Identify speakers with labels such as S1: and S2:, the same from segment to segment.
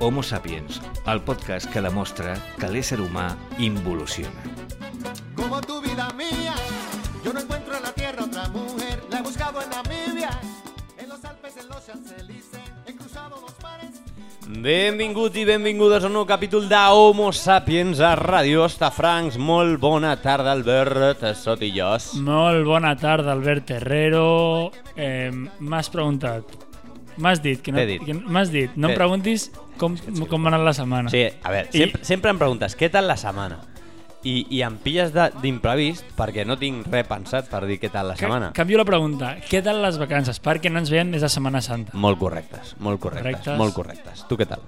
S1: Homo Sapiens, el podcast que demostra que l'ésser humà involuciona.
S2: Como tu vida mía, yo no encuentro en la tierra otra mujer. La he buscado en Namibia, en los Alpes, en los Champs-Élysées. He cruzado los mares.
S3: Benvinguts i benvingudes a un nou capítol de Homo Sapiens a Ràdio Estafrancs. Molt bona tarda, Albert Sotillos.
S4: Molt bona tarda, Albert Terrero. Eh, M'has preguntat... M'has dit que no...
S3: T'he dit.
S4: que no- M'has dit, no
S3: T'he-
S4: em preguntis com, com va anar la setmana.
S3: Sí, a veure,
S4: I-
S3: sempre, sempre em preguntes què tal la setmana? I, i em pilles de- d'imprevist perquè no tinc res pensat per dir què tal la
S4: Ca-
S3: setmana.
S4: Canvio la pregunta. Què tal les vacances? Perquè no ens veiem des de Setmana Santa.
S3: Molt correctes, molt correctes,
S4: Correctes.
S3: molt correctes. Tu què tal?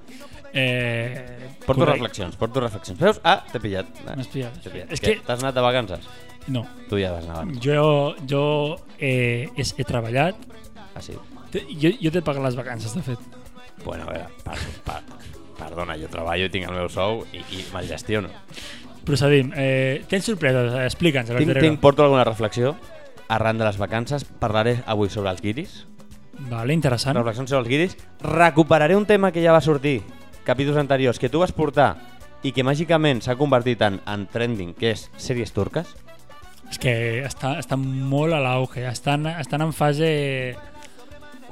S4: Eh,
S3: Porto
S4: correcte.
S3: reflexions, porto reflexions. Veus? Ah, t'he pillat. Eh,
S4: M'has pillat.
S3: T'he pillat. És
S4: És que-
S3: que... T'has anat de vacances?
S4: No.
S3: Tu ja vas anar abans.
S4: Jo, jo eh, he, he treballat.
S3: Ah, sí?
S4: Te- Jo, jo t'he pagat les vacances, de fet.
S3: Bueno, a veure, per, per, perdona, jo treballo i tinc el meu sou i, i me'l gestiono.
S4: Procedim. Eh, tens sorpreses? Eh, Explica'ns, Albert
S3: Tinc,
S4: Terrero.
S3: tinc, porto alguna reflexió arran de les vacances. Parlaré avui sobre els guiris.
S4: Vale, interessant.
S3: Reflexions sobre els guiris. Recuperaré un tema que ja va sortir capítols anteriors, que tu vas portar i que màgicament s'ha convertit en, en trending, que és sèries turques.
S4: És que està, està molt a l'auge. Estan, estan en fase...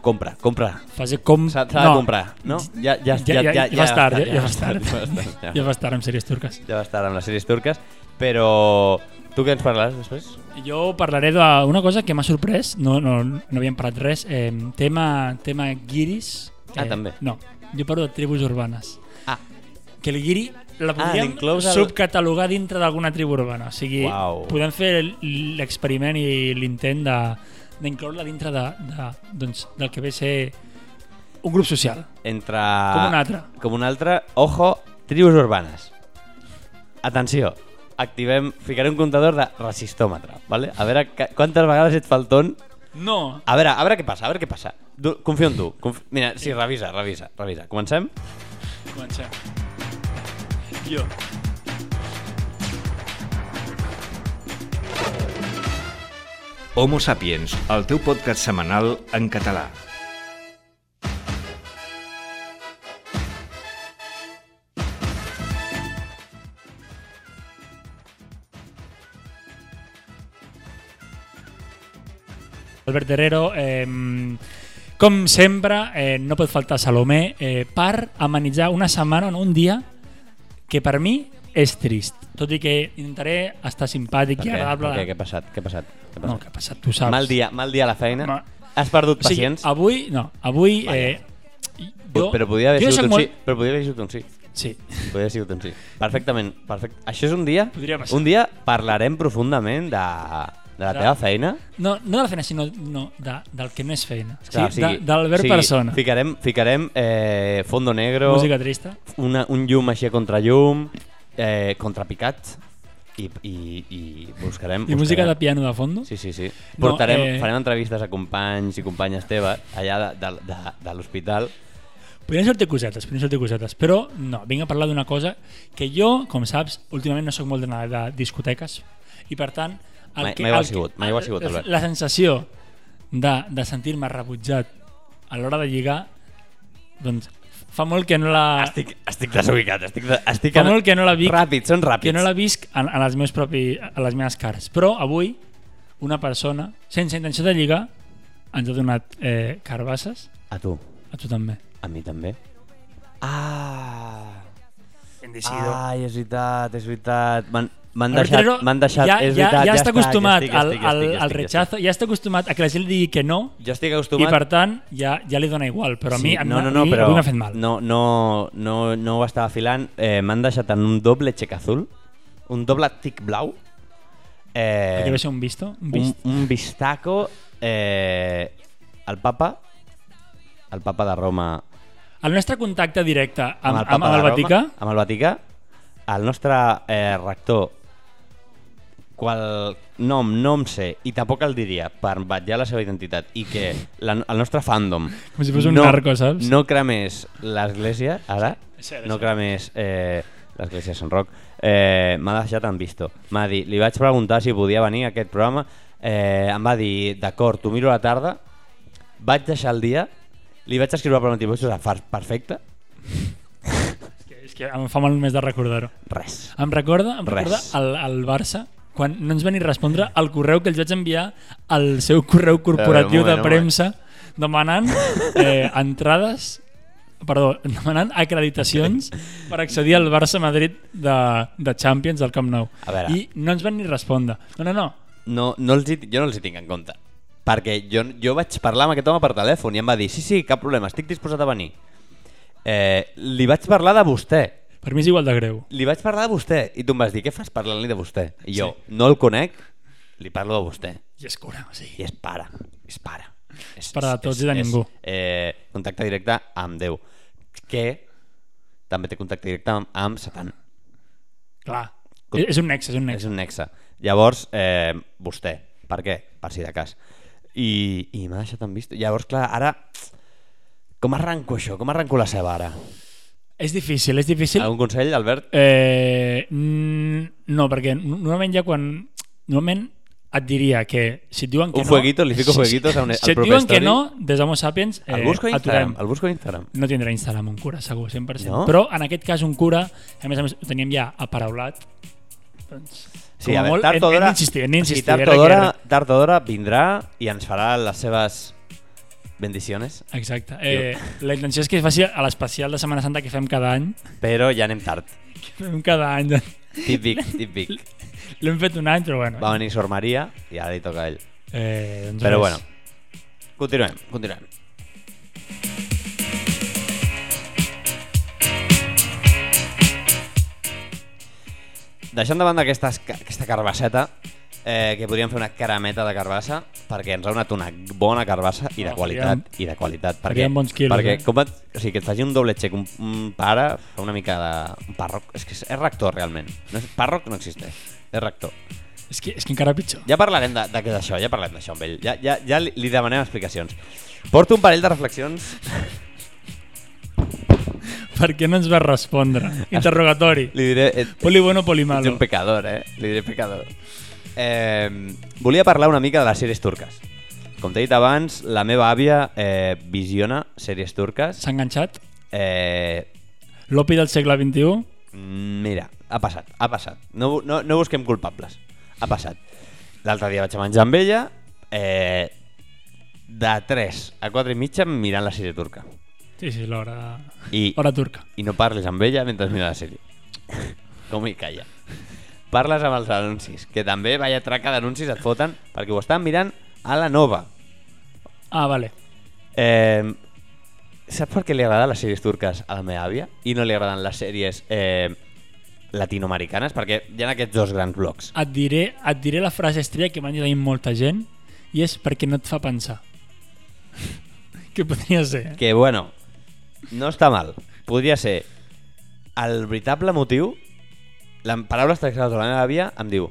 S3: Compra, compra.
S4: Fase com...
S3: S'ha s'ha de comprar, no? Ja, ja,
S4: Ja, ja, ja, ja, vas tard, eh? ja, ja vas tard.
S3: Ja vas tard,
S4: Ja vas tard amb sèries turques.
S3: ja vas tard amb les sèries turques, però... Tu què ens parlaràs després?
S4: Jo parlaré d'una cosa que m'ha sorprès, no, no, no havíem parlat res, eh, tema, tema guiris.
S3: Ah,
S4: eh,
S3: també.
S4: No, jo parlo de tribus urbanes.
S3: Ah.
S4: Que el guiri la podríem
S3: l'inclòs al-
S4: subcatalogar dintre d'alguna tribu urbana. O sigui,
S3: Uau.
S4: podem fer l'experiment i l'intent de- d'incloure-la dintre de, de, doncs, del que ve a ser un grup social,
S3: Entre...
S4: com un altre.
S3: com un altre, ojo, tribus urbanes. Atenció, activem, ficaré un comptador de resistòmetre, vale? A veure ca- quantes vegades et fa el ton.
S4: No,
S3: A veure, a veure què passa, a veure què passa. Du, confio en tu. Conf... Mira, sí, revisa, revisa, revisa. Comencem?
S4: Comencem. Jo.
S1: Homo Sapiens, el teu podcast setmanal en català.
S4: Albert Herrero, eh, com sempre, eh, no pot faltar Salomé eh, per amenitzar una setmana o un dia que per mi és trist. Tot i que intentaré estar simpàtic
S3: Per
S4: i
S3: què?
S4: agradable.
S3: Per què? Què ha passat? Què ha passat? Què ha
S4: No,
S3: passat?
S4: què ha passat? Tu saps.
S3: mal dia, mal dia a la feina.
S4: Ma-
S3: Has perdut
S4: O sigui,
S3: pacients.
S4: avui, no, avui... Eh, jo,
S3: però podia haver
S4: jo
S3: sigut
S4: soc
S3: un
S4: molt...
S3: sí. Però podia haver sigut un sí.
S4: Sí.
S3: Podria haver sigut un sí. Perfectament, perfecte. Això és un dia...
S4: Podria passar.
S3: Un dia parlarem profundament de, de la
S4: De-
S3: teva feina.
S4: No, no de la feina, sinó no, de, del que no és feina.
S3: Clar,
S4: sí, de- d'Albert
S3: o sigui,
S4: Persona.
S3: Ficarem, ficarem eh, fondo negro,
S4: Música trista.
S3: una, un llum així contra llum, eh, contrapicat, i, i, i buscarem...
S4: I música de piano de fondo.
S3: Sí, sí, sí.
S4: No,
S3: Portarem,
S4: eh,
S3: Farem entrevistes a companys i companyes teves allà de, de, de, de l'hospital.
S4: Podrien sortir cosetes, podrien sortir cosetes, però no, vinc a parlar d'una cosa que jo, com saps, últimament no sóc molt d'anar de discoteques i per tant...
S3: Mai-
S4: que,
S3: mai ho ha
S4: el que-
S3: sigut, mai ho ha sigut,
S4: la-
S3: Albert.
S4: La sensació de, de sentir-me rebutjat a l'hora de lligar, doncs fa molt que no la...
S3: Estic, estic desubicat, estic... De, estic
S4: Ah. Fa molt que no la vic.
S3: Ràpid, són ràpids.
S4: que no la visc en, en els meus propi, a les meves cares. Però avui, una persona, sense intenció de lligar, ens ha donat eh, carbasses,
S3: A tu,
S4: a tu també.
S3: a mi també. Ah...
S4: Bendecido.
S3: Ai, és veritat, és veritat. M'han m'han
S4: Albert
S3: deixat,
S4: Rivero
S3: m'han deixat,
S4: ja,
S3: és
S4: ja,
S3: veritat.
S4: ja, està acostumat
S3: estic, estic, estic,
S4: al, al,
S3: estic,
S4: al
S3: estic,
S4: rechazo, ja està acostumat a que la gent li digui que no,
S3: estic. Jo estic
S4: i
S3: acostumat...
S4: per tant ja, ja li dona igual, però a mi,
S3: sí,
S4: em-
S3: no, no,
S4: a
S3: no,
S4: mi
S3: però
S4: avui m'ha fet mal.
S3: No, no, no, no ho estava filant. Eh, M'han deixat en un doble xec azul, un doble tic blau, eh,
S4: Aquí va ser un visto, un
S3: un,
S4: vist.
S3: un vistaco, eh, el papa, el papa de Roma
S4: El nostre contacte directe amb, amb,
S3: papa
S4: amb,
S3: de
S4: el
S3: Roma,
S4: Vaticà,
S3: Amb el Vaticà, el nostre eh, rector, qual nom no em sé, i tampoc el diria, per vetllar la seva identitat, i que la, el nostre fandom...
S4: Com si fos un narco, saps?
S3: No cremés l'església, ara,
S4: és cert, és
S3: no
S4: cert.
S3: cremés... Eh, l'església de Sant Roc, eh, m'ha deixat en visto. M'ha dit, li vaig preguntar si podia venir a aquest programa, eh, em va dir, d'acord, t'ho miro a la tarda, vaig deixar el dia, li vaig escriure per un tipus, perfecte,
S4: És que em fa mal més de recordar-ho.
S3: Res.
S4: Em recorda, em
S3: Res.
S4: recorda el, el Barça quan no ens va ni respondre al correu que els vaig enviar al seu correu corporatiu
S3: moment,
S4: de
S3: un
S4: premsa demanant eh, entrades perdó, demanant acreditacions per accedir al Barça-Madrid de, de Champions del Camp Nou.
S3: A veure.
S4: I no ens van ni respondre. No, no, no.
S3: No, no els hi, jo no els hi tinc en compte. Perquè jo, jo vaig parlar amb aquest home per telèfon i em va dir, sí, sí, cap problema, estic disposat a venir. Eh, li vaig parlar de vostè.
S4: Per mi és igual de greu.
S3: Li vaig parlar de vostè. I tu em vas dir, què fas parlant-li de vostè? I jo, sí. no el conec, li parlo de vostè.
S4: I és cura, o sigui.
S3: I és pare, és pare. És,
S4: pare de tots i de ningú.
S3: És, eh, contacte directe amb Déu. Que també té contacte directe amb, amb Satan.
S4: Clar.
S3: Com-
S4: És un nexe, és un
S3: És
S4: nexe.
S3: un nexe. Llavors, eh, vostè. Per què? Per si de cas. I, i m'ha deixat en vist. Llavors, clar, ara... Com arranco això? Com arranco la seva ara?
S4: És difícil, és difícil.
S3: Algun consell, Albert?
S4: Eh, mm, no, perquè no- normalment ja quan... Normalment et diria que si et diuen que
S3: Un
S4: no...
S3: fueguito, li fico
S4: si-
S3: fueguitos a un-
S4: Si
S3: al
S4: et
S3: proper
S4: diuen que
S3: story.
S4: no, des d'Homo Sapiens eh,
S3: El busco a Instagram.
S4: aturem.
S3: El busco a Instagram.
S4: No tindrà Instagram un cura, segur, 100%.
S3: No?
S4: Però en aquest cas un cura, a més a més, ho teníem ja aparaulat. Doncs,
S3: Sí,
S4: com
S3: a veure,
S4: molt,
S3: tard o
S4: hem-
S3: d'hora...
S4: Hem d'insistir, hem eh, d'insistir.
S3: sí, tard,
S4: era
S3: o
S4: que
S3: d'hora,
S4: era.
S3: tard o d'hora vindrà i ens farà les seves bendiciones,
S4: Exacte. Eh, la intenció és que es faci a l'especial de Setmana Santa que fem cada any.
S3: però ja anem tard.
S4: Que fem cada any.
S3: Típic, típic.
S4: L'hem fet un any, però bueno.
S3: Va venir Sor Maria i ara li toca a ell.
S4: Eh, doncs
S3: Però
S4: res.
S3: bueno, continuem, continuem. Deixant de banda aquesta, aquesta carbasseta, eh, que podríem fer una carameta de carbassa, perquè ens ha donat una bona carbassa i de
S4: Ah,
S3: qualitat,
S4: faríem-
S3: i de qualitat. Perquè,
S4: faríem bons quilos,
S3: perquè
S4: eh?
S3: com et, o sigui, que et faci un doble xec un, un pare, fa una mica de... Un pàrroc, és que és, és rector, realment. No és, pàrroc no existeix, és rector.
S4: És que, és que encara pitjor.
S3: Ja parlarem de, de què és això, ja parlem d'això amb ell. Ja, ja, ja li, li demanem explicacions. Porto un parell de reflexions.
S4: Per què no ens va respondre? Interrogatori.
S3: Li diré... Et,
S4: Poli bueno, poli
S3: ets
S4: malo.
S3: un pecador, eh? Li diré pecador. Eh, volia parlar una mica de les sèries turques. Com t'he dit abans, la meva àvia eh, visiona sèries turques.
S4: S'ha enganxat?
S3: Eh,
S4: L'opi del segle XXI?
S3: mira, ha passat, ha passat. No, bu- no, no busquem culpables. Ha passat. L'altre dia vaig a menjar amb ella, eh, de 3 a 4 i mitja mirant la sèrie turca.
S4: Sí, sí, l'hora...
S3: I-
S4: Hora turca.
S3: i no parles amb ella mentre mira la sèrie. Com hi calla. Parles amb els anuncis, que també vaya traca d'anuncis et foten, perquè ho estan mirant a la nova.
S4: Ah, vale.
S3: Eh, saps per què li agraden les sèries turques a la meva àvia i no li agraden les sèries eh, latinoamericanes? Perquè hi ha aquests dos grans blocs.
S4: Et diré, et diré la frase estrella que m'han dit ahir molta gent i és perquè no et fa pensar. que podria ser, eh?
S3: Que, bueno, no està mal. Podria ser el veritable motiu la paraula extractada de la meva àvia em diu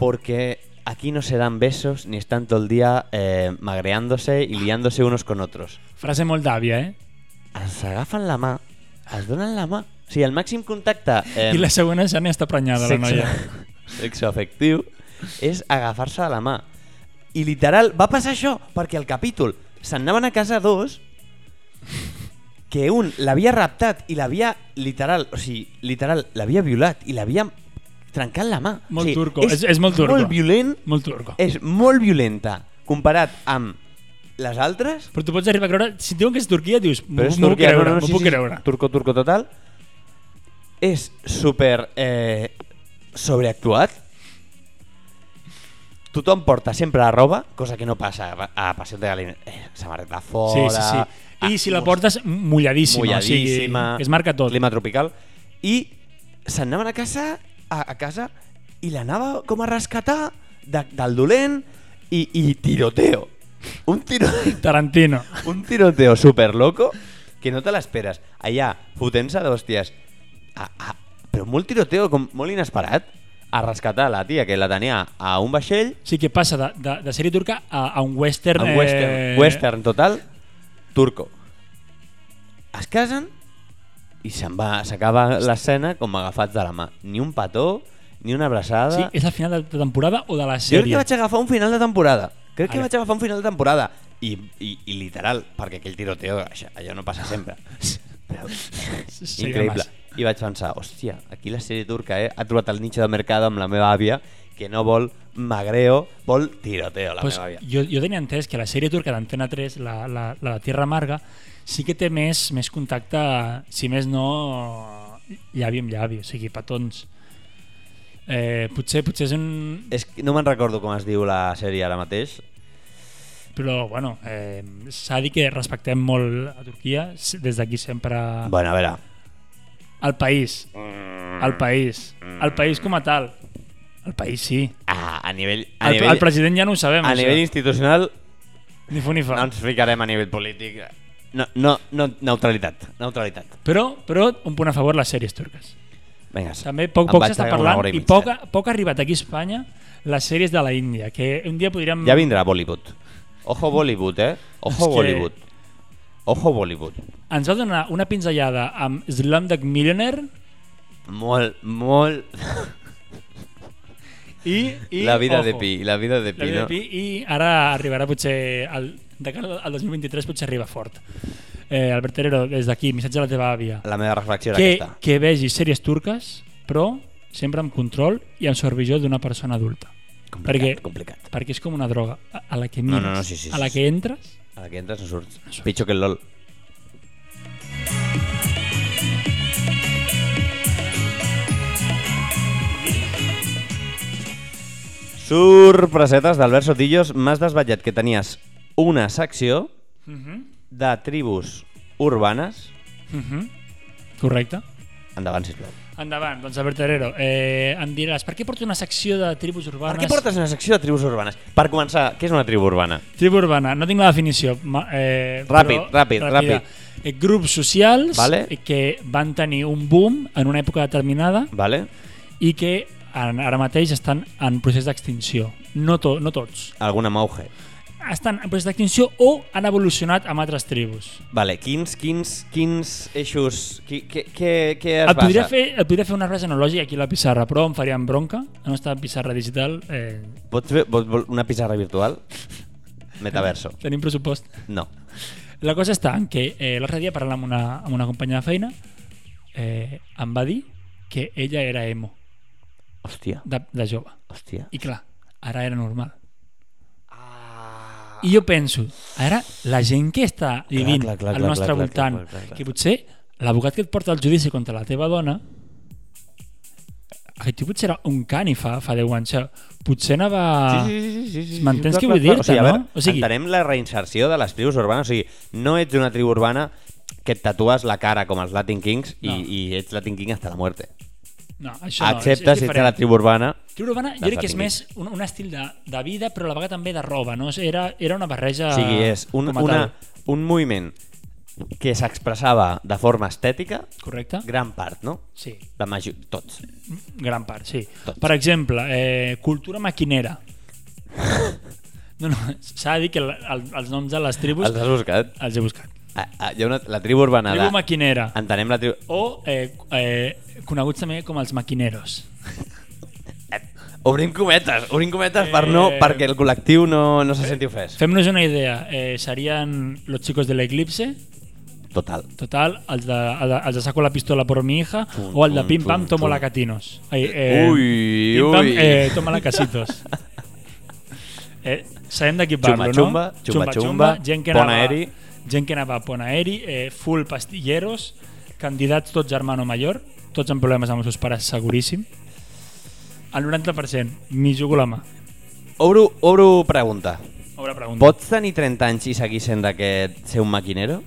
S3: porque aquí no se dan besos ni están todo el día eh, magreándose y liándose unos con otros.
S4: Frase molt d'àvia, eh?
S3: Ens agafen la mà, es donen la mà. O sigui, el màxim contacte eh,
S4: I la següent ja n'hi està prenyada, la noia.
S3: sexoafectiu és agafar-se de la mà. I literal, va passar això, perquè el capítol se'n anaven a casa dos que un l'havia raptat i l'havia literal, o sigui, literal, l'havia violat i l'havia trencat la mà.
S4: Molt
S3: o sigui,
S4: turco, és- és molt turco.
S3: Molt violent,
S4: Molt turco.
S3: és molt violenta comparat amb les altres.
S4: Però tu pots arribar a creure... Si et diuen que és Turquia, dius... M'ho
S3: Però és
S4: m'ho puc
S3: Turquia,
S4: creure,
S3: no, no, no,
S4: m'ho
S3: sí,
S4: puc
S3: sí,
S4: creure.
S3: Turco, turco total. És super eh, sobreactuat. Tothom porta sempre la roba, cosa que no passa a, a Passió de Galina. Eh, samarreta
S4: Sí,
S3: fora...
S4: sí, sí. I
S3: ah,
S4: si la portes mulladíssima,
S3: mulladíssima,
S4: o sigui, es marca tot.
S3: Clima tropical. I s'anaven a casa a, a casa i l'anava com a rescatar de, del dolent i, i tiroteo. Un tiroteo
S4: Tarantino.
S3: un tiroteo super loco que no te l'esperes. Allà, fotent-se d'hòsties. Ah, ah, però molt tiroteo, com molt inesperat, a rescatar la tia que la tenia a un vaixell,
S4: O sigui que passa de, de, de sèrie turca a, a un western...
S3: a un western,
S4: Eh.
S3: western total, turco. Es casen i se'n va, s'acaba l'escena com agafats de la mà. Ni un petó, ni una abraçada.
S4: Sí, és al final de de temporada o de la
S3: Jo crec
S4: sèrie?
S3: que vaig agafar un final de temporada. Crec que
S4: Ara.
S3: vaig agafar un final de temporada. I, i, i literal, perquè aquell tiroteo, això, allò no passa sempre. Però,
S4: Sí, sí,
S3: increïble.
S4: demà.
S3: i vaig pensar, hòstia, aquí la sèrie turca eh, ha trobat el nicho de mercat amb la meva àvia que no vol magreo, vol tiroteo, la
S4: pues
S3: meva àvia.
S4: jo, jo tenia entès que la sèrie turca d'Antena 3, la, la, la de Tierra Amarga, sí que té més, més contacte, si més no, llavi amb llavi, o sigui, petons. Eh, potser, potser és un...
S3: És que no me'n recordo com es diu la sèrie ara mateix.
S4: Però, bueno, eh, s'ha de dir que respectem molt a Turquia, s- des d'aquí sempre...
S3: Bueno, a veure,
S4: El país.
S3: Mm.
S4: El país. El país com a tal. El país sí.
S3: a, a nivell... A
S4: El,
S3: nivell,
S4: el president ja no ho sabem.
S3: a
S4: això.
S3: nivell Doncs- institucional
S4: Ni fu ni fa.
S3: no ens ficarem a nivell polític. No, no, no, neutralitat, neutralitat.
S4: Però, però un punt a favor les sèries turques.
S3: Vinga,
S4: També poc,
S3: em
S4: poc
S3: vaig
S4: s'està
S3: tragar una
S4: parlant
S3: hora
S4: i
S3: mitja.
S4: poc, ha- poc ha arribat aquí a Espanya les sèries de la Índia, que un dia podríem...
S3: Ja vindrà Bollywood. Ojo Bollywood, eh? Ojo
S4: mm. És que-
S3: Bollywood. Ojo Bollywood.
S4: Ens va donar una pinzellada amb Slumdog Millionaire
S3: Molt, molt...
S4: i... i
S3: la vida
S4: ojo,
S3: de Pi, la vida de
S4: La
S3: Pi,
S4: vida
S3: no?
S4: de Pi i ara arribarà potser... Al, de cara al 2023 potser arriba fort. Eh, Albert Terero, des d'aquí, missatge a la teva àvia.
S3: La meva reflexió era
S4: que,
S3: aquesta.
S4: que vegi sèries turques, però sempre amb control i amb supervisió d'una persona adulta.
S3: Complicat,
S4: perquè-
S3: complicat.
S4: Perquè és com una droga a, a la que
S3: No,
S4: mires,
S3: no, no, sí, sí,
S4: a la
S3: sí,
S4: que entres...
S3: A la que entres no surts. Pitjor que el LOL. Sorpresetes d'Albert Sotillos. M'has desvetllat que tenies una secció
S4: Uh -huh.
S3: de tribus urbanes.
S4: Uh -huh. Correcte.
S3: Endavant, sisplau.
S4: Endavant, doncs Albert Herrero, eh, em diràs, per què porto una secció de tribus
S3: Per
S4: urbanes?
S3: què portes una secció de tribus urbanes? Per començar, què és una tribu urbana?
S4: Tribu urbana, no tinc la definició. ma- Eh,
S3: Ràpid, ràpid,
S4: ràpida.
S3: ràpid.
S4: Eh, grups socials eh,
S3: Vale.
S4: que van tenir un boom en una època determinada
S3: Vale?
S4: i que en, ara mateix estan en procés d'extinció. No, to, no tots.
S3: Alguna mauge.
S4: Estan en procés d'extinció o han evolucionat amb altres tribus.
S3: Vale, quins, quins, quins eixos... Qui, què, què, què es
S4: Et podria,
S3: basa?
S4: fer, et podria fer una frase analògica aquí a la pissarra, però em faria en bronca. La nostra pissarra digital eh,
S3: Pots fer vol, vol una pissarra virtual? Metaverso.
S4: tenim pressupost.
S3: No.
S4: La cosa està en que eh, l'altre dia parlant amb una, amb una companya de feina eh, em va dir que ella era emo,
S3: Hòstia,
S4: de, de jove.
S3: hòstia.
S4: I clar, ara era normal.
S3: Ah,
S4: I jo penso, ara la gent que està vivint
S3: clar, clar,
S4: al
S3: clar,
S4: nostre
S3: clar, clar,
S4: voltant,
S3: clar, clar, clar.
S4: que potser l'advocat que et porta al judici contra la teva dona, aquest tio potser era un cani fa, fa 10 anys, potser anava...
S3: sí, sí,
S4: M'entens
S3: clar,
S4: què
S3: clar,
S4: vull
S3: clar.
S4: dir-te,
S3: Ah. o sigui, a
S4: no?
S3: veure,
S4: O sigui-
S3: Entenem la reinserció de les tribus urbanes, o sigui, no ets una tribu urbana que et tatues la cara com els Latin Kings i,
S4: No.
S3: i ets Latin King hasta la muerte.
S4: No, això no,
S3: Acceptes si
S4: és, és
S3: ets a
S4: diferent.
S3: la tribu urbana
S4: Tribu urbana jo
S3: Dels
S4: crec que és més
S3: latinins.
S4: un, un estil de, de vida, però a la vegada també de roba, no? Era, era una barreja...
S3: O sigui, és un,
S4: Ah, com a
S3: una,
S4: tal.
S3: un moviment que s'expressava de forma estètica,
S4: Correcte?
S3: gran part, no?
S4: Sí,
S3: La major... Tots.
S4: gran part, sí.
S3: Tots.
S4: Per exemple, eh, cultura maquinera. No, no, s'ha de dir que el, el, els noms de les tribus
S3: Els has buscat?
S4: els he buscat.
S3: Ah, ah, hi ha una, la tribu urbana
S4: Tribu
S3: de...
S4: maquinera.
S3: Entenem la tribu...
S4: O eh, eh, coneguts també com els maquineros.
S3: Obrim cometes, obrim cometes per no,
S4: Eh,
S3: perquè el col·lectiu no, no se senti ofès.
S4: Fem-nos una idea. Eh, serien los chicos de l'eclipse,
S3: Total.
S4: Total, els de, el de- els de Saco la pistola por mi hija
S3: Tum,
S4: o el de
S3: tum,
S4: Pim Pam
S3: tum,
S4: Tomo
S3: tum.
S4: la Catinos. Ai,
S3: Ui,
S4: Pim Pam
S3: ui.
S4: eh, Toma la Casitos. eh, sabem de qui parlo,
S3: Chumba,
S4: no?
S3: chumba, chumba,
S4: gent que
S3: Bonaeri.
S4: Anava, gent que anava a Ponaeri, eh, full pastilleros, candidats tots a hermano mayor, tots amb problemes amb els seus pares, seguríssim. El 90%, m'hi jugo la mà.
S3: Obro, obro pregunta.
S4: Obre pregunta. Pot,
S3: Pots tenir 30 anys i seguir sent d'aquest ser un maquinero?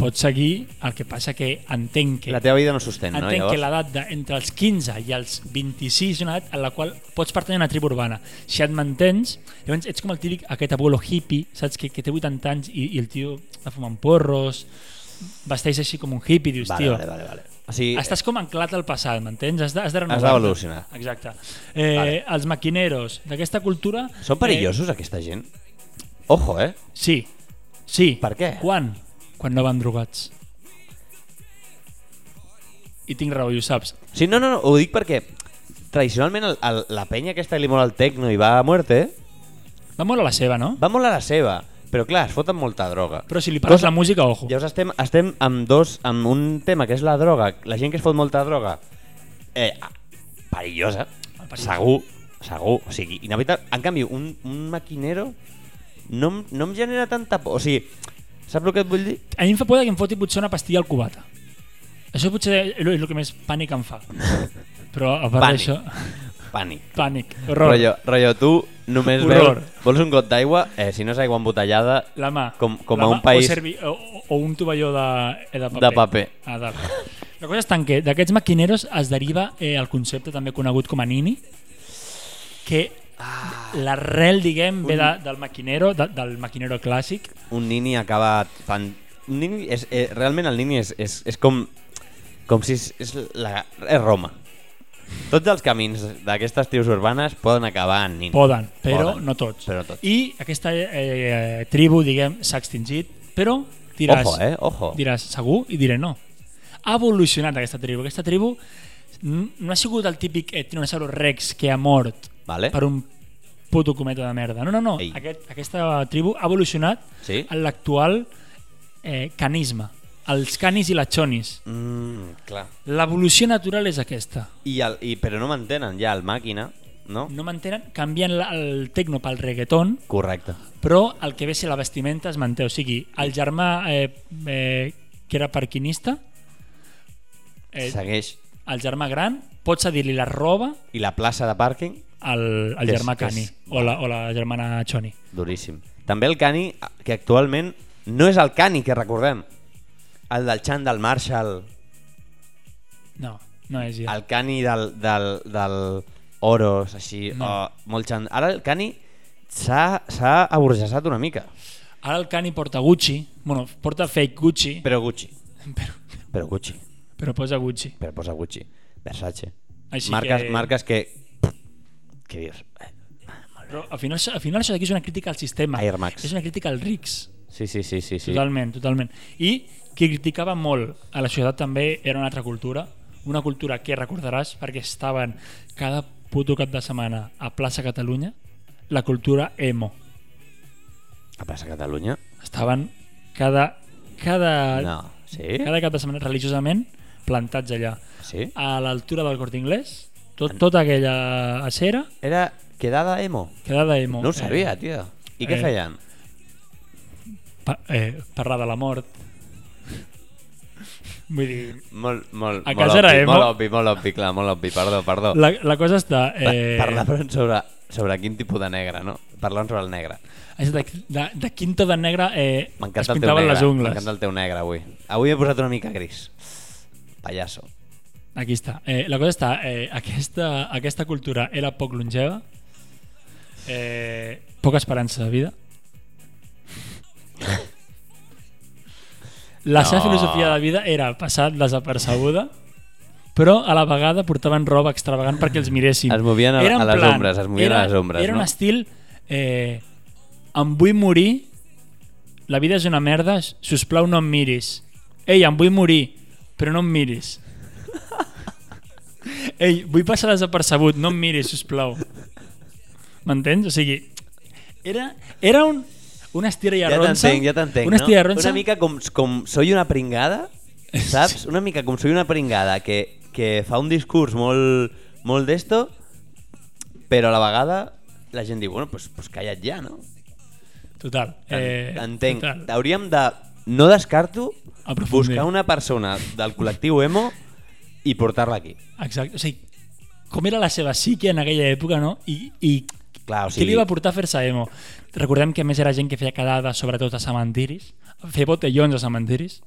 S4: Pot seguir, el que passa que entenc que...
S3: La teva vida no sostén, no?
S4: Entenc que l'edat de- entre els 15 i els 26 és una edat en la qual pots pertànyer a una tribu urbana. Si et mantens, llavors ets com el típic aquest abuelo hippie, saps? Que, que té 80 anys i, i el tio va fumant porros, vesteix així com un hippie, dius,
S3: Vale,
S4: tio,
S3: vale, vale, vale. O sigui,
S4: estàs com anclat al passat, m'entens? Has de, has de renovar.
S3: d'evolucionar.
S4: Exacte. Eh,
S3: Vale.
S4: Els maquineros d'aquesta cultura...
S3: són perillosos, aquesta gent? Ojo, eh?
S4: Eh, sí. Sí.
S3: Per què?
S4: Quan? Quan no van drogats. I tinc raó, i ho saps.
S3: Sí, no, no, no, ho dic perquè tradicionalment el, el, la penya aquesta que li mola el tecno i va a muerte
S4: Va molt a la seva, no?
S3: va molt a la seva. Però clar, es foten molta droga.
S4: Però si li pares
S3: Cosa-
S4: la música, ojo.
S3: Llavors estem, estem amb dos, amb un tema que és la droga. La gent que es fot molta droga, eh, perillosa,
S4: Perillosa.
S3: segur, segur. O sigui, inevitable. En canvi, un, un maquinero no, em- no em genera tanta por. O sigui, saps el que et vull dir?
S4: A mi em fa por que em foti potser una pastilla al cubata. Això potser és el que més pànic em fa. Però a part
S3: Pànic.
S4: d'això...
S3: Pànic.
S4: Pànic, horror.
S3: Rollo, rollo, tu només
S4: Horror.
S3: veus... Vols un got d'aigua? Eh, si no és aigua embotellada,
S4: La mà.
S3: Com- com
S4: la
S3: a
S4: mà
S3: un país-
S4: O, servi, o, o un tovalló de, eh, de paper.
S3: De paper.
S4: Ah, de... La cosa és tant que d'aquests maquineros es deriva eh, el concepte també conegut com a nini, que
S3: Ah.
S4: l'arrel, diguem, ve de, del maquinero, de, del maquinero clàssic.
S3: un nini acaba fan... Un nini és, eh, realment el nini és, és, és com, com si és, és, la, és Roma. Tots els camins d'aquestes tribus urbanes poden acabar en nini.
S4: Poden, però
S3: Poden,
S4: no tots.
S3: però tots.
S4: I aquesta eh, tribu, diguem, s'ha extingit, però diràs...
S3: Ojo, eh? Ojo.
S4: diràs segur i diré no. Ha evolucionat aquesta tribu. Aquesta tribu n- no ha sigut el típic etnosauro rex que ha mort
S3: Vale.
S4: per un puto cometa de merda. No, no, no.
S3: Ei.
S4: Aquest, aquesta tribu ha evolucionat
S3: Sí?
S4: en l'actual eh, canisme. Els canis i les xonis.
S3: Mm, clar.
S4: L'evolució natural és aquesta.
S3: I el, i, però no mantenen ja el màquina, no?
S4: No mantenen, canvien la- el tecno pel reggaeton,
S3: Correcte.
S4: però el que ve a ser la vestimenta es manté. O sigui, el germà eh, eh, que era parquinista eh,
S3: Segueix.
S4: el germà gran pot cedir-li la roba
S3: I la plaça de pàrquing,
S4: al, al
S3: Que és-
S4: germà
S3: que és-
S4: Cani o, la, o la germana Choni.
S3: duríssim. També el cani, que actualment no és el cani que recordem. El del Chan, del Marshall,
S4: No, no és ja.
S3: El cani del, del, del Oros, així,
S4: No.
S3: no. oh, molt xan... Ara el cani s'ha s'ha aburgesat una mica,
S4: Ara el Cani porta Gucci, bueno, porta fake Gucci, però,
S3: però Gucci.
S4: però,
S3: Però Gucci,
S4: però posa Gucci.
S3: però posa Gucci. Versace.
S4: Així
S3: marques,
S4: que-
S3: marques que... Què dius? Eh,
S4: Però al final, al final això d'aquí és una crítica al sistema.
S3: Air Max.
S4: És una crítica al RICS.
S3: Sí, sí, sí, sí. sí.
S4: Totalment, totalment. I qui criticava molt a la ciutat també era una altra cultura, una cultura que recordaràs perquè estaven cada puto cap de setmana a plaça Catalunya, la cultura emo.
S3: A plaça Catalunya?
S4: Estaven cada, cada,
S3: No. Sí?
S4: cada cap de setmana religiosament plantats allà.
S3: Sí?
S4: A l'altura del Corte Inglés, tot, tota aquella acera
S3: Era quedada emo?
S4: quedada emo.
S3: No ho sabia, tio. I què
S4: eh,
S3: feien?
S4: Eh, pa, eh, parlar de la mort. Vull dir,
S3: Molt, molt,
S4: a
S3: molt
S4: casa era
S3: obvi,
S4: emo.
S3: molt obvi, molt obvi, clar, molt obvi, perdó, perdó.
S4: la, la cosa està... Eh,
S3: Eh... Parlar però sobre, sobre quin tipus de negre, no? Parlant sobre el negre.
S4: és De, de, de quinto de negre eh, es
S3: M'encanta el teu
S4: pintaven
S3: negre.
S4: les ungles.
S3: M'encanta el teu negre avui. Avui he posat una mica gris. Pallasso.
S4: Aquí està. Eh, la cosa està, eh, aquesta, aquesta cultura era poc longeva, eh, poca esperança de vida. La seva
S3: No.
S4: filosofia de vida era passar desapercebuda, però a la vegada portaven roba extravagant perquè els miréssim.
S3: Es movien a-
S4: Era en
S3: a les
S4: plan,
S3: ombres, es movien a
S4: era-
S3: les ombres,
S4: Era
S3: no?
S4: un estil... Eh, em vull morir, la vida és una merda, si us plau no em miris. Ei, em vull morir, però no em miris. Ei, vull passar desapercebut, no em miris, sisplau. M'entens? O sigui, era, era un, una estira i
S3: Ja
S4: arronsa.
S3: t'entenc, ja t'entenc.
S4: Una estira i
S3: no?
S4: arronsa.
S3: Una mica com, com soy una pringada, saps? Una mica com soy una pringada que, que fa un discurs molt, molt d'esto, però a la vegada la gent diu, bueno, pues, pues calla't ja, no?
S4: Total. Eh,
S3: Eh, Entenc.
S4: Total.
S3: Hauríem de... No descarto
S4: Aprofundir.
S3: buscar una persona del col·lectiu emo i portar-la aquí.
S4: Exacte. O sigui, com era la seva psique en aquella època, no? I, i
S3: Clar, o
S4: sí. què
S3: sigui,
S4: li va portar a fer-se emo? Recordem que a més era gent que feia quedades, sobretot a cementiris, a fer botellons a cementiris.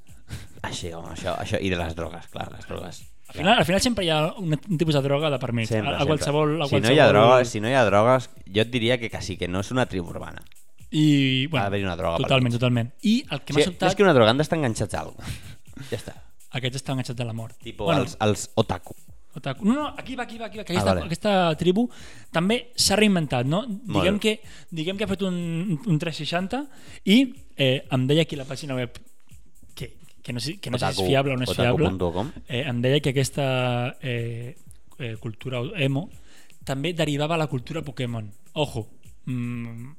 S3: Així, home, això, això, i de les drogues, clar, les drogues.
S4: Al final, al final sempre hi ha un, un tipus de droga de per mig.
S3: Sempre,
S4: a, a qualsevol,
S3: sempre.
S4: a
S3: si,
S4: qualsevol...
S3: no hi ha drogues, si no hi ha drogues, jo et diria que quasi que no és una tribu urbana.
S4: I, bueno,
S3: d'haver-hi una droga pel
S4: Totalment,
S3: mig.
S4: totalment. I el que
S3: O
S4: m'ha
S3: sigui,
S4: sobtat...
S3: És que una droga han d'estar enganxats a alguna cosa. Ja està.
S4: Aquests estan enganxats a la mort.
S3: Tipo bueno, els, els otaku.
S4: otaku. No, no, aquí va, aquí va, aquí va. Que aquesta,
S3: Ah, vale.
S4: aquesta tribu també s'ha reinventat, no?
S3: bé.
S4: Diguem que, diguem que ha fet un, un 360 i eh, em deia aquí la pàgina web que, que no sé, que no sé si
S3: Otaku-
S4: és fiable o no és fiable.
S3: otaku.com.
S4: Eh, em deia que aquesta eh, eh, cultura emo també derivava a la cultura Pokémon. Ojo, mm,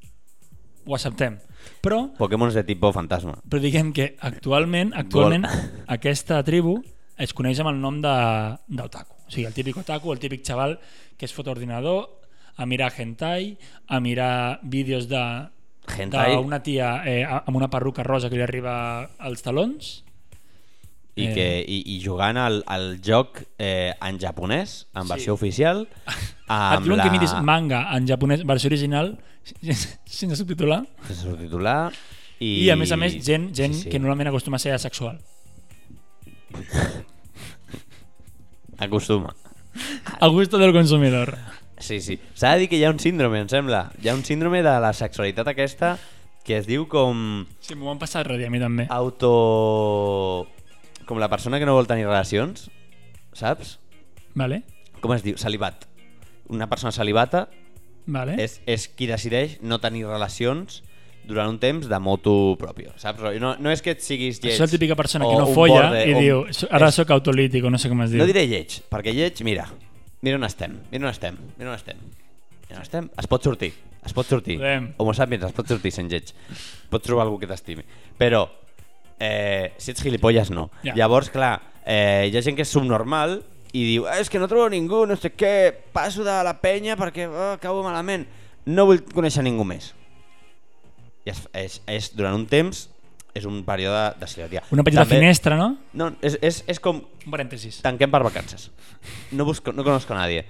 S4: ho acceptem. Però,
S3: Pokémons de tipus fantasma.
S4: però diguem que actualment actualment
S3: Vol.
S4: aquesta tribu es coneix amb el nom de, d'otaku. O sigui, el típic otaku, el típic xaval que es fot a ordinador a mirar hentai, a mirar vídeos de
S3: Hentai?
S4: d'una tia eh, a- amb una perruca rosa que li arriba als talons
S3: I,
S4: Eh.
S3: que, i, i jugant al, al joc eh, en japonès, en
S4: Sí.
S3: versió oficial,
S4: Et
S3: amb
S4: diuen
S3: la...
S4: que miris manga en japonès, versió original, sense subtitular,
S3: sense subtitular i...
S4: i, a més a més gent, gent sí, sí. que normalment acostuma a ser asexual.
S3: Acostuma.
S4: A gusto del consumidor.
S3: Sí, sí. S'ha de dir que hi ha un síndrome, em sembla. Hi ha un síndrome de la sexualitat aquesta que es diu com
S4: Sí, m'ho van passar el dia, a mi també.
S3: auto... Com la persona que no vol tenir relacions, saps?
S4: Vale?
S3: Com es diu? Salivat. Una persona salivata
S4: Vale?
S3: és, és qui decideix no tenir relacions durant un temps de moto propi, saps? No, no és que et siguis lleig.
S4: Això és la típica persona que
S3: o
S4: no
S3: un
S4: folla
S3: borde,
S4: i
S3: o un-
S4: diu, "So- ara sóc autolític o no sé com es diu.
S3: No diré lleig, perquè lleig, mira, mira on estem, mira on estem, mira on estem. Mira on estem. Es pot sortir, es pot sortir.
S4: Podem.
S3: Homo sapiens, es pot sortir sent lleig. Pots trobar algú que t'estimi. Però, eh, si ets gilipolles, no.
S4: Ja.
S3: Llavors, clar, eh, hi ha gent que és subnormal i diu, "Eh, és que no trobo ningú, no sé què, passo de la penya perquè oh, acabo malament. No vull conèixer ningú més. I és, és, és durant un temps, és un període de celibatia.
S4: Una petita
S3: També-
S4: finestra, no?
S3: No, és, és, és com
S4: Un parèntesis.
S3: tanquem per vacances. No, busco, no conozco a nadie.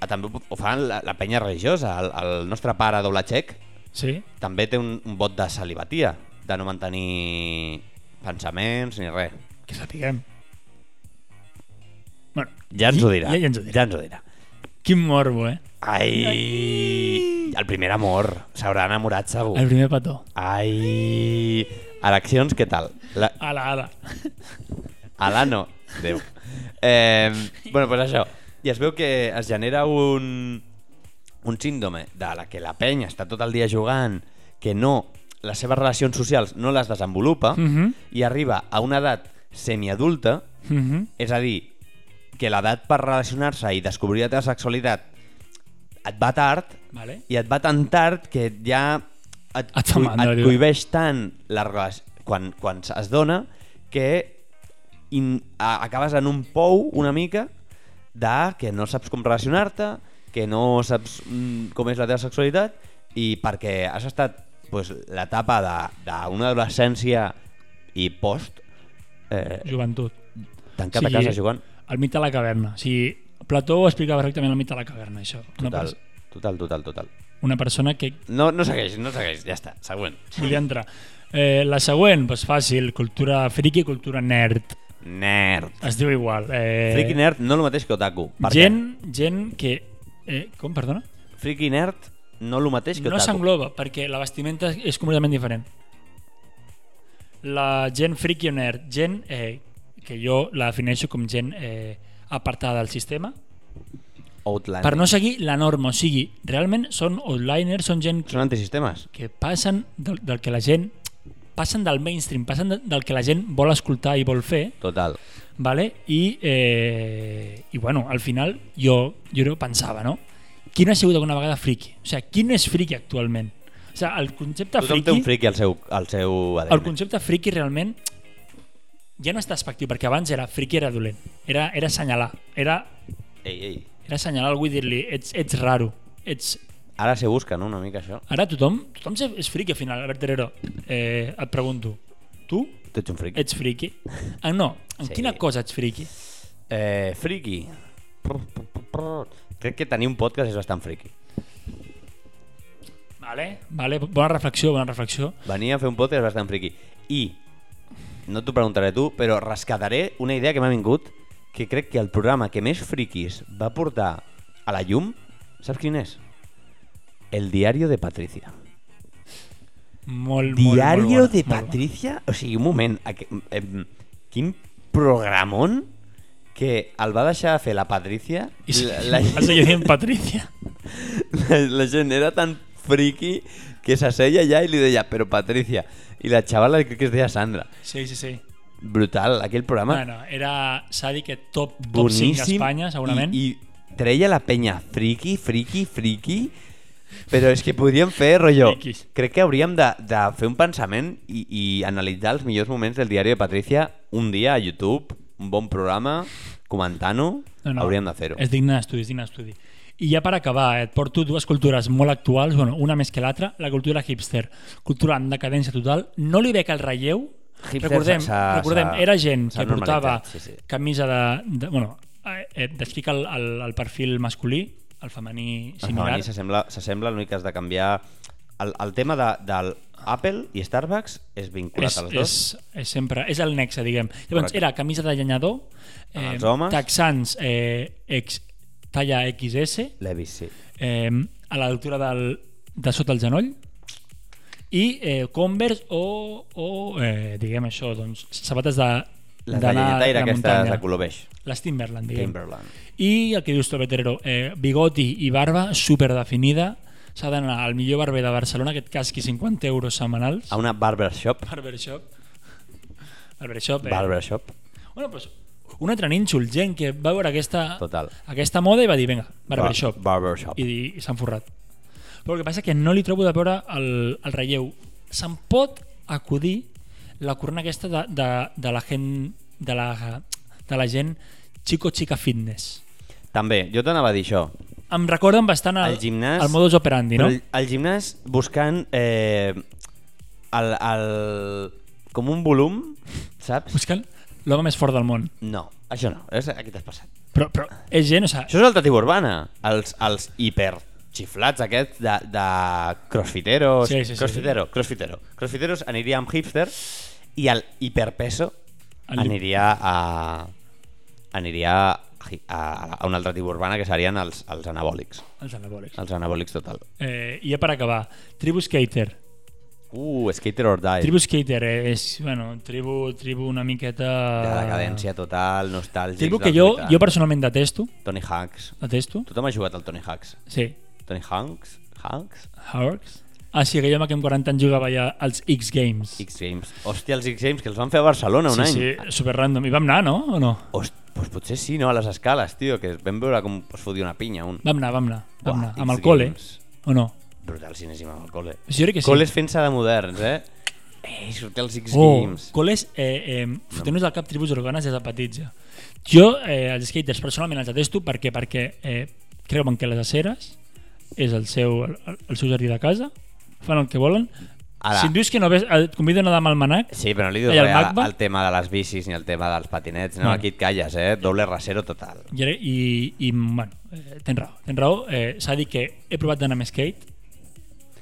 S3: Ah, També ho fan la, la penya religiosa. El, el nostre pare doble xec
S4: Sí?
S3: també té un, un vot de salivatia, de no mantenir pensaments ni res.
S4: Que sapiguem. Bueno,
S3: Ja ens ho dirà.
S4: Ja, ja ens ho dirà.
S3: Ja ens ho dirà.
S4: Quin morbo, eh?
S3: Ai, el primer amor. S'haurà enamorat segur.
S4: El primer petó.
S3: Ai, eleccions, què tal? La,
S4: Ala, ala.
S3: A l'ano. Déu. Eh, bueno, pues això. I es veu que es genera un, un síndrome de la que la penya està tot el dia jugant, que no, les seves relacions socials no les desenvolupa
S4: Mhm.
S3: i arriba a una edat semiadulta,
S4: Mhm.
S3: és a dir, que l'edat per relacionar-se i descobrir la teva sexualitat et va tard
S4: Vale?
S3: i et va tan tard que ja et,
S4: Et fa
S3: cui-
S4: mandra,
S3: et
S4: tio.
S3: cohibeix tant la relació, quan, quan es dona que in, a, acabes en un pou una mica de que no saps com relacionar-te, que no saps mm, com és la teva sexualitat i perquè has estat pues, l'etapa de- d'una adolescència i post eh,
S4: Joventut.
S3: tancat sí, a casa jugant.
S4: Al mig de la caverna. O sigui, Plató ho explica perfectament al mig de la caverna, això. Una,
S3: Total,
S4: pers-
S3: total, total, total.
S4: una persona que
S3: No, no segueix, no segueix, ja està, següent.
S4: volia entrar. Eh, la següent, doncs fàcil, cultura friki, cultura nerd.
S3: Nerd.
S4: Es diu igual. Eh,
S3: Friki nerd no el mateix que otaku. Per
S4: Gent, gent que... Eh, com, perdona?
S3: Què? Friki nerd no el mateix que
S4: No
S3: otaku.
S4: s'engloba, perquè la vestimenta és completament diferent. La gent friki o nerd, gent eh, que jo la defineixo com gent eh, apartada del sistema,
S3: Outlander.
S4: per no seguir la norma. O sigui, realment són onliners, són gent
S3: Són antisistemes.
S4: que passen del, del que la gent passen del mainstream, passen de, del que la gent vol escoltar i vol fer,
S3: Total.
S4: vale? I, eh, i bueno, al final jo, jo pensava, no? Qui no ha sigut alguna vegada friki? O sigui, qui no és friki actualment? O sigui, el concepte
S3: Tothom té un
S4: friki,
S3: friki al seu, al seu ADN.
S4: el concepte friki realment ja no és despectiu, perquè abans era friki era dolent, era, era assenyalar, era,
S3: Ei, ei.
S4: era assenyalar algú i dir-li ets, ets raro, ets,
S3: Ara se busca, no?, una mica això.
S4: Ara tothom, tothom se- és friki al final, Albert Herrero. Eh, et pregunto, tu
S3: Tu ets un friki.
S4: ets friki? Ah, no, en
S3: Sí.
S4: sí. quina cosa ets friki?
S3: Eh, friki. Prr, prr, prr, prr. Crec que tenir un podcast és bastant friki.
S4: Vale, vale, bona reflexió, bona reflexió.
S3: Venir a fer un podcast és bastant friki. I, no t'ho preguntaré tu, però rescataré una idea que m'ha vingut, que crec que el programa que més friquis va portar a la llum, saps quin és? El diario de Patricia.
S4: Molt, molt,
S3: Diario
S4: molt bona,
S3: de
S4: molt bona.
S3: Patricia? O sigui, un moment, aqu- em, quin programón que el va deixar fer la Patricia.
S4: I se,
S3: la,
S4: la, seguir dient Patricia.
S3: la, la gent era tan friki que s'asseia allà i li deia, però Patricia. I la xavala crec que es deia Sandra.
S4: Sí, sí, sí.
S3: Brutal, aquell programa.
S4: Bueno, era sàdic que top, top 5
S3: boníssim.
S4: a Espanya, segurament.
S3: I,
S4: I,
S3: I treia la penya friki, friki, friki. Però és que podríem fer, rotllo,
S4: Miquis.
S3: crec que hauríem de, de fer un pensament i, i analitzar els millors moments del diari de Patricia un dia a YouTube, un bon programa, comentant-ho, no, no. hauríem de fer-ho.
S4: És digne d'estudi, és digne d'estudi. I ja per acabar, eh, et porto dues cultures molt actuals, bueno, una més que l'altra, la cultura hipster, cultura en decadència total, no li veig el relleu,
S3: Hipster
S4: recordem,
S3: s'ha-
S4: recordem
S3: s'ha-
S4: era gent
S3: s'ha
S4: que portava
S3: normalitzat, sí, sí.
S4: camisa de... de bueno, eh, eh, descric el, el, el perfil masculí, el femení
S3: Similar.
S4: similar.
S3: S'assembla, s'assembla l'únic que has de canviar... El, el tema de, del Apple i Starbucks és vinculat
S4: és,
S3: als dos.
S4: és, és sempre, és el nexe, diguem. Llavors,
S3: Correcte. Ah,
S4: era camisa de llenyador,
S3: Els homes.
S4: texans eh, ex, talla XS,
S3: Levis, sí.
S4: eh, a l'altura del, de sota el genoll i eh, Converse o, o eh, diguem això, doncs, sabates de
S3: Les de
S4: d'anar
S3: llenyataire
S4: a la
S3: aquestes de
S4: muntanya.
S3: color beix.
S4: Les Timberland, diguem.
S3: Timberland.
S4: I el que dius tu, Terrero, eh, bigoti i barba superdefinida. S'ha d'anar al millor barber de Barcelona, que et casqui 50 euros setmanals.
S3: A una barbershop.
S4: Barbershop. Barbershop, eh?
S3: Barbershop.
S4: Bueno, pues, un altre nínxol, gent que va veure aquesta,
S3: Total.
S4: aquesta moda i va dir, vinga, barbershop.
S3: Ba- barbershop.
S4: I, i s'han forrat. Però el que passa és que no li trobo de veure el, el relleu. Se'n pot acudir la corona aquesta de, de, de la gent de la, de la gent xico chica fitness.
S3: També, jo t'anava a dir això.
S4: Em recorden bastant el,
S3: El gimnàs-
S4: Ah, el modus operandi,
S3: Però
S4: no?
S3: el, el gimnàs buscant eh, el, el, com un volum, saps?
S4: Buscant l'home més fort del món.
S3: No, això no, és, aquí t'has passat.
S4: Però, però és gent, o sigui,
S3: Això és alternativa urbana, els, els hiper xiflats aquests de, de crossfiteros,
S4: Sí, sí, sí,
S3: crossfitero, crossfitero. Crossfiteros aniria amb hipster i el hiperpeso
S4: El-
S3: aniria a aniria a, a, a una altra tipus urbana que serien els, els anabòlics.
S4: els anabòlics.
S3: Els anabòlics total.
S4: Eh, I ja per acabar, tribu skater.
S3: Uh, skater or die.
S4: Tribu skater eh, és, bueno, tribu, tribu una miqueta...
S3: De decadència total, nostàlgics.
S4: eh, Tribu que
S3: dels
S4: jo,
S3: 80.
S4: jo personalment detesto.
S3: Tony Hanks.
S4: Detesto.
S3: Tothom ha jugat al Tony Hanks.
S4: Sí.
S3: Tony Hanks? Hanks?
S4: Harks. Ah, sí, aquell home que amb 40 anys jugava ja als X Games.
S3: X Games. Hòstia, els X Games que els van fer a Barcelona un
S4: sí,
S3: any.
S4: sí, super random. I vam anar, no? O no?
S3: Host, pues potser sí, no? A les escales, tio, que vam veure com es fotia una pinya. Un...
S4: Vam anar, vam anar. Vam
S3: Buah,
S4: anar.
S3: X
S4: Amb el cole.
S3: Games.
S4: O no?
S3: Brutal cinèsima amb el col·le.
S4: Jo crec que sí.
S3: Col·les fent-se de moderns, eh? Ei, sortir els X
S4: oh,
S3: Games.
S4: Coles, eh, eh, fotent-nos del cap tribus urbanes des de petits ja. Jo, eh, els skaters, personalment els detesto perquè perquè eh, creuen que les aceres és el seu, el, el seu jardí de casa, fan el que volen.
S3: Ara.
S4: Si em dius que no ves, eh, et convido a nedar amb el manac,
S3: Sí, però no li dius
S4: I el
S3: res al
S4: Magba?
S3: al tema de les bicis ni al tema dels patinets. No,
S4: Bueno.
S3: aquí et calles, eh? Doble rasero total.
S4: I, ara- i, i bueno, eh, tens raó. Tens raó. Eh, S'ha dit que he provat d'anar amb skate,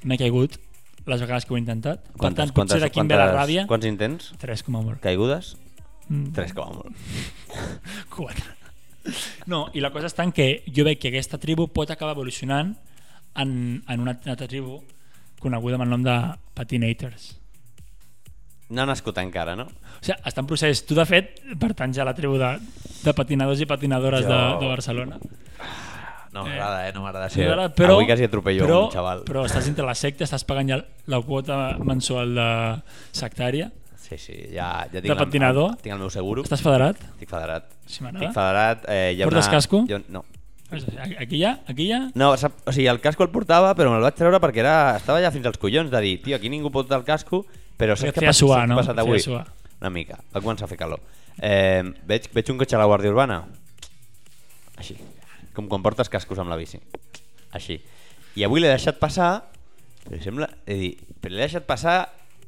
S4: m'he caigut les vegades que ho he intentat. per tant, potser d'aquí em ve la
S3: quantes-
S4: ràbia.
S3: Quants intents?
S4: 3, com a molt.
S3: Caigudes?
S4: Mm.
S3: Tres com a molt.
S4: 4. No, i la cosa està en que jo veig que aquesta tribu pot acabar evolucionant en, en una altra tribu coneguda amb el nom de Patinators.
S3: No ha nascut encara, no?
S4: O sigui, està en procés. Tu, de fet, pertanys a la tribu de, de patinadors i patinadores
S3: Jo-
S4: de, de Barcelona.
S3: No m'agrada, eh? No m'agrada.
S4: Sí,
S3: Sí.
S4: ara, però,
S3: Avui quasi atropello
S4: però,
S3: un xaval.
S4: Però estàs entre la secta, estàs pagant ja la quota mensual de sectària.
S3: Sí, sí, ja, ja tinc,
S4: De patinador?
S3: El, tinc el meu seguro.
S4: Estàs federat?
S3: Estic federat.
S4: Sí, m'agrada.
S3: Estic federat. Eh, hi ha
S4: Portes
S3: una...
S4: casco?
S3: Jo, no.
S4: Aquí ja, aquí ja...
S3: No, sap, o sigui, el casco el portava, però me'l vaig treure perquè era, estava ja fins als collons de dir, tio, aquí ningú porta el casco, però saps
S4: Perquè
S3: què
S4: feia
S3: passa,
S4: suar,
S3: saps
S4: no?
S3: què ha passat
S4: Feia
S3: avui?
S4: suar.
S3: Una mica, va començar a fer calor. Eh, veig, veig un cotxe a la Guàrdia Urbana. Així. Com quan portes cascos amb la bici. Així. I avui l'he deixat passar, però sembla... He dit, però l'he deixat passar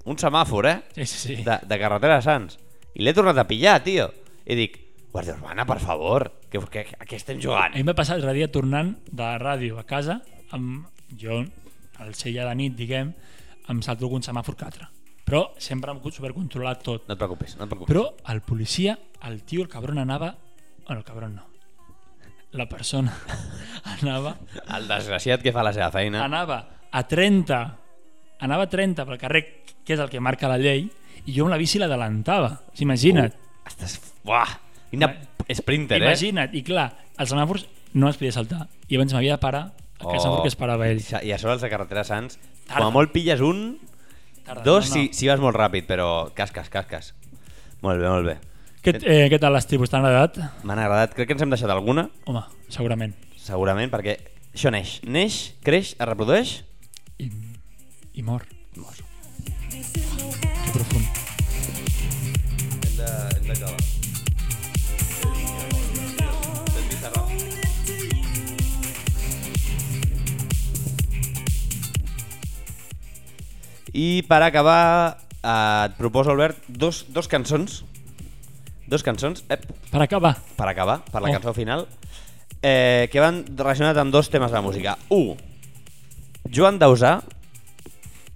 S3: un semàfor, eh?
S4: Sí, sí, sí.
S3: de, de carretera de Sants. I l'he tornat a pillar, tio. I dic, Guàrdia Urbana, per favor, que, que, a què estem
S4: A
S3: jugant?
S4: mi em va passar l'altre dia tornant de la ràdio a casa, amb jo, al ser ja de nit, diguem, em salto algun semàfor que altre. Però sempre em supercontrolat tot.
S3: No et preocupis, no et preocupis.
S4: Però el policia, el tio, el cabron anava... Bueno, el cabron no. La persona anava...
S3: El desgraciat que fa la seva feina.
S4: Anava a 30, anava a 30 pel carrer, que és el que marca la llei, i jo amb la bici l'adelantava. Imagina't.
S3: Estàs... Buah, quina sprinter, eh?
S4: Imagina't, i clar, els semàfors no els podia saltar. I abans m'havia de parar a oh. semàfor que es parava ell.
S3: I a sobre els de carretera Sants,
S4: Tarda.
S3: com a molt pilles un,
S4: Tarda,
S3: dos
S4: no, no.
S3: Si, si vas molt ràpid, però casques, casques. Molt bé, molt bé.
S4: Què, eh, què tal les tribus? T'han agradat?
S3: M'han agradat, crec que ens hem deixat alguna,
S4: Home, segurament.
S3: segurament, perquè Això neix. Neix, creix, es reprodueix...
S4: I, i mor.
S3: Mor.
S4: Que profund.
S3: Hem de, hem d'acabar. I per acabar, eh, et proposo, Albert, dos, dos cançons. Dos cançons, ep,
S4: Per acabar,
S3: per acabar, per la
S4: Oh.
S3: oh. cançó final, eh, que van relacionats amb dos temes de la música. Un, Joan Dausà,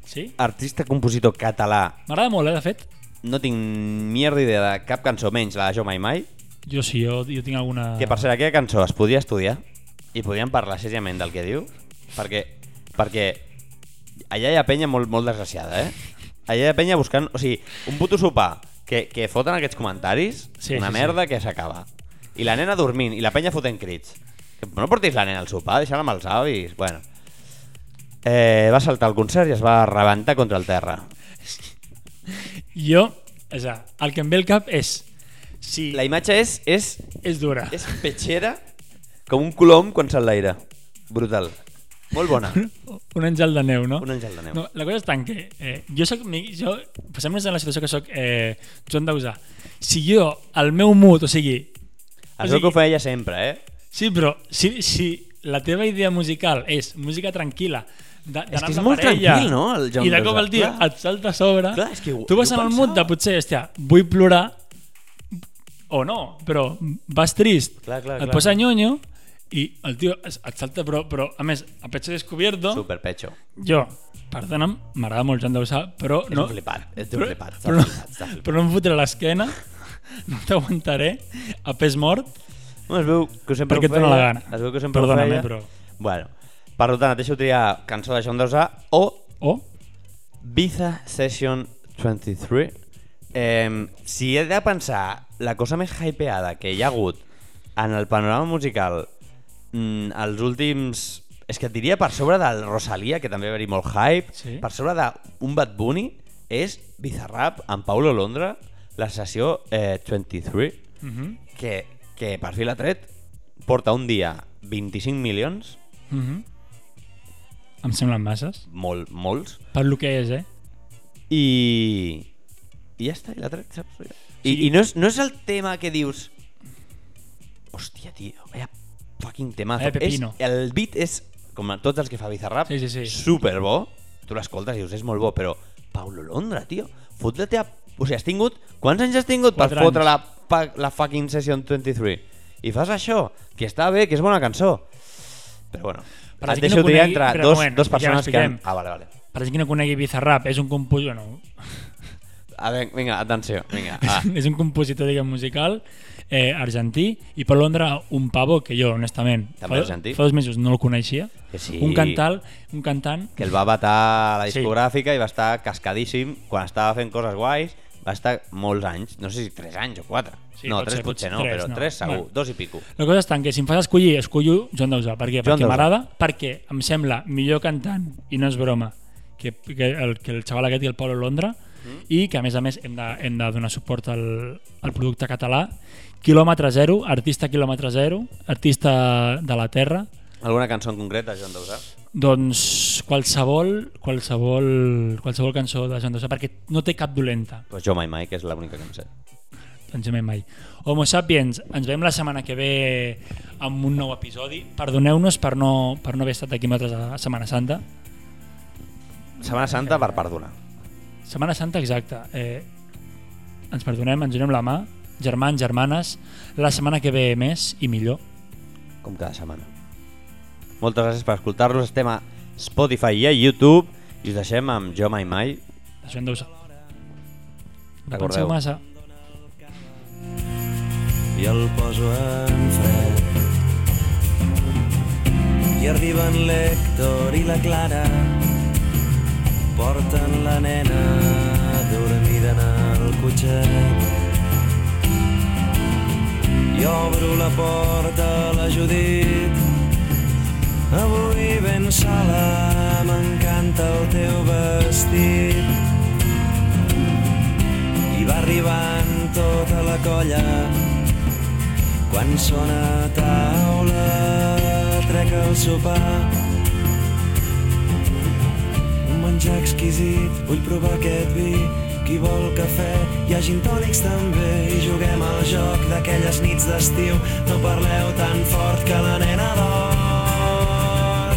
S4: sí?
S3: artista compositor català
S4: M'agrada molt, eh, de fet.
S3: No tinc mierda idea de cap cançó menys la de Jo Mai Mai,
S4: Jo sí, jo, jo tinc alguna...
S3: que per cert aquella cançó es podia estudiar i podíem parlar seriament del que diu, perquè, perquè allà hi ha penya molt, molt desgraciada, eh? Allà hi ha penya buscant... O sigui, un puto sopar que, que foten aquests comentaris, sí,
S4: Sí,
S3: una sí,
S4: sí, sí.
S3: merda que s'acaba. I la nena dormint, i la penya fotent crits. Que No portis la nena al sopar, deixa-la amb els avis, bueno. Eh, va saltar al concert i es va rebentar contra el terra.
S4: Jo, és a, dir, el que em ve al cap és... Si
S3: La imatge és, és
S4: és dura.
S3: És petxera com un colom quan s'enlaira. Brutal. Molt bona.
S4: Un àngel de neu, no?
S3: Un àngel de neu.
S4: No, la cosa és tant que eh, jo soc, mi- jo, posem-nos en la situació que soc eh, Joan Dausà. Si jo, el meu mood, o sigui,
S3: Això que ho feia ella sempre, eh?
S4: sí, però si, si la teva idea musical és música tranquil·la, de,
S3: És que és
S4: d'anar amb la
S3: molt
S4: parella,
S3: tranquil, no, el Joan
S4: I de cop
S3: Dausà,
S4: el tio
S3: clar.
S4: et salta a sobre,
S3: Clar, és que ho-
S4: tu vas
S3: jo
S4: en el
S3: pensava.
S4: mood de potser, hòstia, vull plorar, o no, però vas trist,
S3: Clar, clar,
S4: et
S3: clar.
S4: posa nyonyo, i el tio es- et salta, però, però a més, a pecho descubierto,
S3: Super petxo.
S4: jo, perdona'm, m'agrada molt Joan Dausà, però
S3: Ets
S4: no...
S3: un flipat, ets un
S4: però,
S3: flipat, estàs
S4: però,
S3: flipat, estàs flipat.
S4: però no em fotré a l'esquena, no t'aguantaré, a pes mort,
S3: Bueno, es veu que sempre
S4: Perquè
S3: ho
S4: et dóna
S3: feia.
S4: la gana.
S3: Es veu que sempre
S4: Perdona-me,
S3: ho feia.
S4: però-
S3: Bueno, per tant, et deixo triar cançó de John Dausà o
S4: o...
S3: Biza Session 23. Eh, si he de pensar la cosa més hypeada que hi ha hagut en el panorama musical mm, els últims... És que et diria per sobre del Rosalia, que també va haver-hi molt hype,
S4: Sí.
S3: per sobre d'un Bad Bunny, és Bizarrap amb Paulo Londra, la sessió eh, 23,
S4: Uh -huh,
S3: que, que per fi l'ha tret, porta un dia 25 milions,
S4: uh -huh. Em semblen masses,
S3: molt, molts,
S4: per lo que és, eh?
S3: I... I ja està, i la tret, saps? I, i no, és, no és el tema que dius... Hòstia, tio, vaya fucking tema.
S4: Vaya pepino.
S3: el beat és, com a tots els que fa Bizarrap,
S4: Sí, sí, sí.
S3: superbo. Tu l'escoltes i dius, és molt bo, però Paulo Londra, tio, fot la teva... O sigui, has tingut... Quants anys has tingut per
S4: Quatre
S3: fotre
S4: anys.
S3: la, pa- la fucking Session 23? I fas això, que està bé, que és bona cançó. Però bueno,
S4: Per la
S3: et
S4: gent que
S3: deixo
S4: no
S3: triar
S4: conegui-
S3: entre
S4: espera,
S3: dos,
S4: moment,
S3: dos
S4: ja
S3: persones que han...
S4: expliquem.
S3: Ah, vale, vale.
S4: Per gent que no conegui Bizarrap, és un compositor, no,
S3: A veure, vinga, atenció, vinga. Ah.
S4: és un compositor diguem, musical eh, argentí i per Londra un pavo que jo honestament
S3: També
S4: fa,
S3: argentí.
S4: fa dos mesos no el coneixia
S3: Que sí.
S4: un cantal un cantant
S3: que el va matar a la
S4: Sí.
S3: discogràfica sí. i va estar cascadíssim quan estava fent coses guais va estar molts anys, no sé si 3 anys o 4
S4: Sí,
S3: no,
S4: pot
S3: 3
S4: ser, pot
S3: potser
S4: ser
S3: no,
S4: tres,
S3: però
S4: no.
S3: 3 segur,
S4: Bueno.
S3: 2 i pico
S4: La cosa és tant que si em fas escollir, escollo Joan Dausà. Per què?
S3: Joan
S4: perquè
S3: Dausà.
S4: m'agrada, perquè em sembla millor cantant, i no és broma, que, que, el, que el xaval aquest i el Paulo Londra, mm. i que a més a més hem de, hem de donar suport al, al producte català. Kilòmetre zero, artista quilòmetre zero, artista de la terra,
S3: alguna cançó en concret de Joan Dausà?
S4: doncs qualsevol, qualsevol, qualsevol cançó de Joan Dausà, perquè no té cap dolenta.
S3: Pues jo mai mai, que és l'única que em sé
S4: Doncs mai mai. Homo Sapiens, ens veiem la setmana que ve amb un nou episodi. Perdoneu-nos per no, per no haver estat aquí amb nosaltres a Setmana Santa.
S3: Setmana Santa per perdonar
S4: Setmana Santa, exacte. Eh, ens perdonem, ens donem la mà. Germans, germanes, la setmana que ve més i millor.
S3: com cada setmana moltes gràcies per escoltar-nos estem a Spotify i a YouTube i us deixem amb Jo mai mai
S4: Això en deu ser. No
S3: Recordeu.
S4: penseu massa.
S5: i el poso en fred. I arriben l'Hèctor i la Clara, porten la nena dormida en el cotxet. I obro la porta a la Judit, avui ben sola, m'encanta el teu vestit. I va arribant tota la colla, quan sona a taula trec que el sopar. Un menjar exquisit, vull provar aquest vi. Qui vol cafè, hi ha gin tònics també. I juguem al joc d'aquelles nits d'estiu. No parleu tan fort que la nena dorm.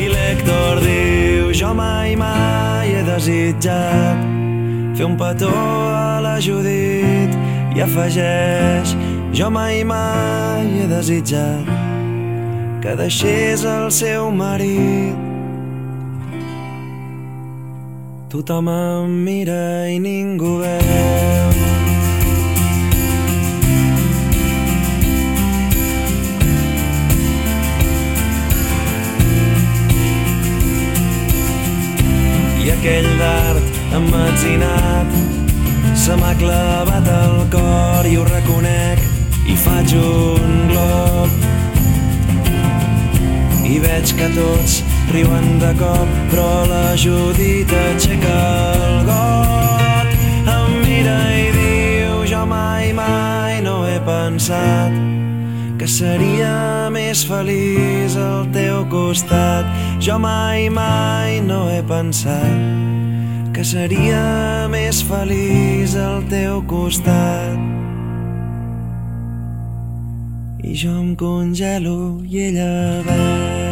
S5: I l'Hèctor diu, jo mai, mai he desitjat fer un petó a la Judit i afegeix jo mai mai he desitjat que deixés el seu marit tothom em mira i ningú veu i aquell dard emmetzinat se m'ha clavat al cor i ho reconec i faig un glob i veig que tots riuen de cop però la Judit aixeca el got em mira i diu jo mai mai no he pensat que seria més feliç al teu costat. Jo mai, mai no he pensat que seria més feliç al teu costat. I jo em congelo i ella ve.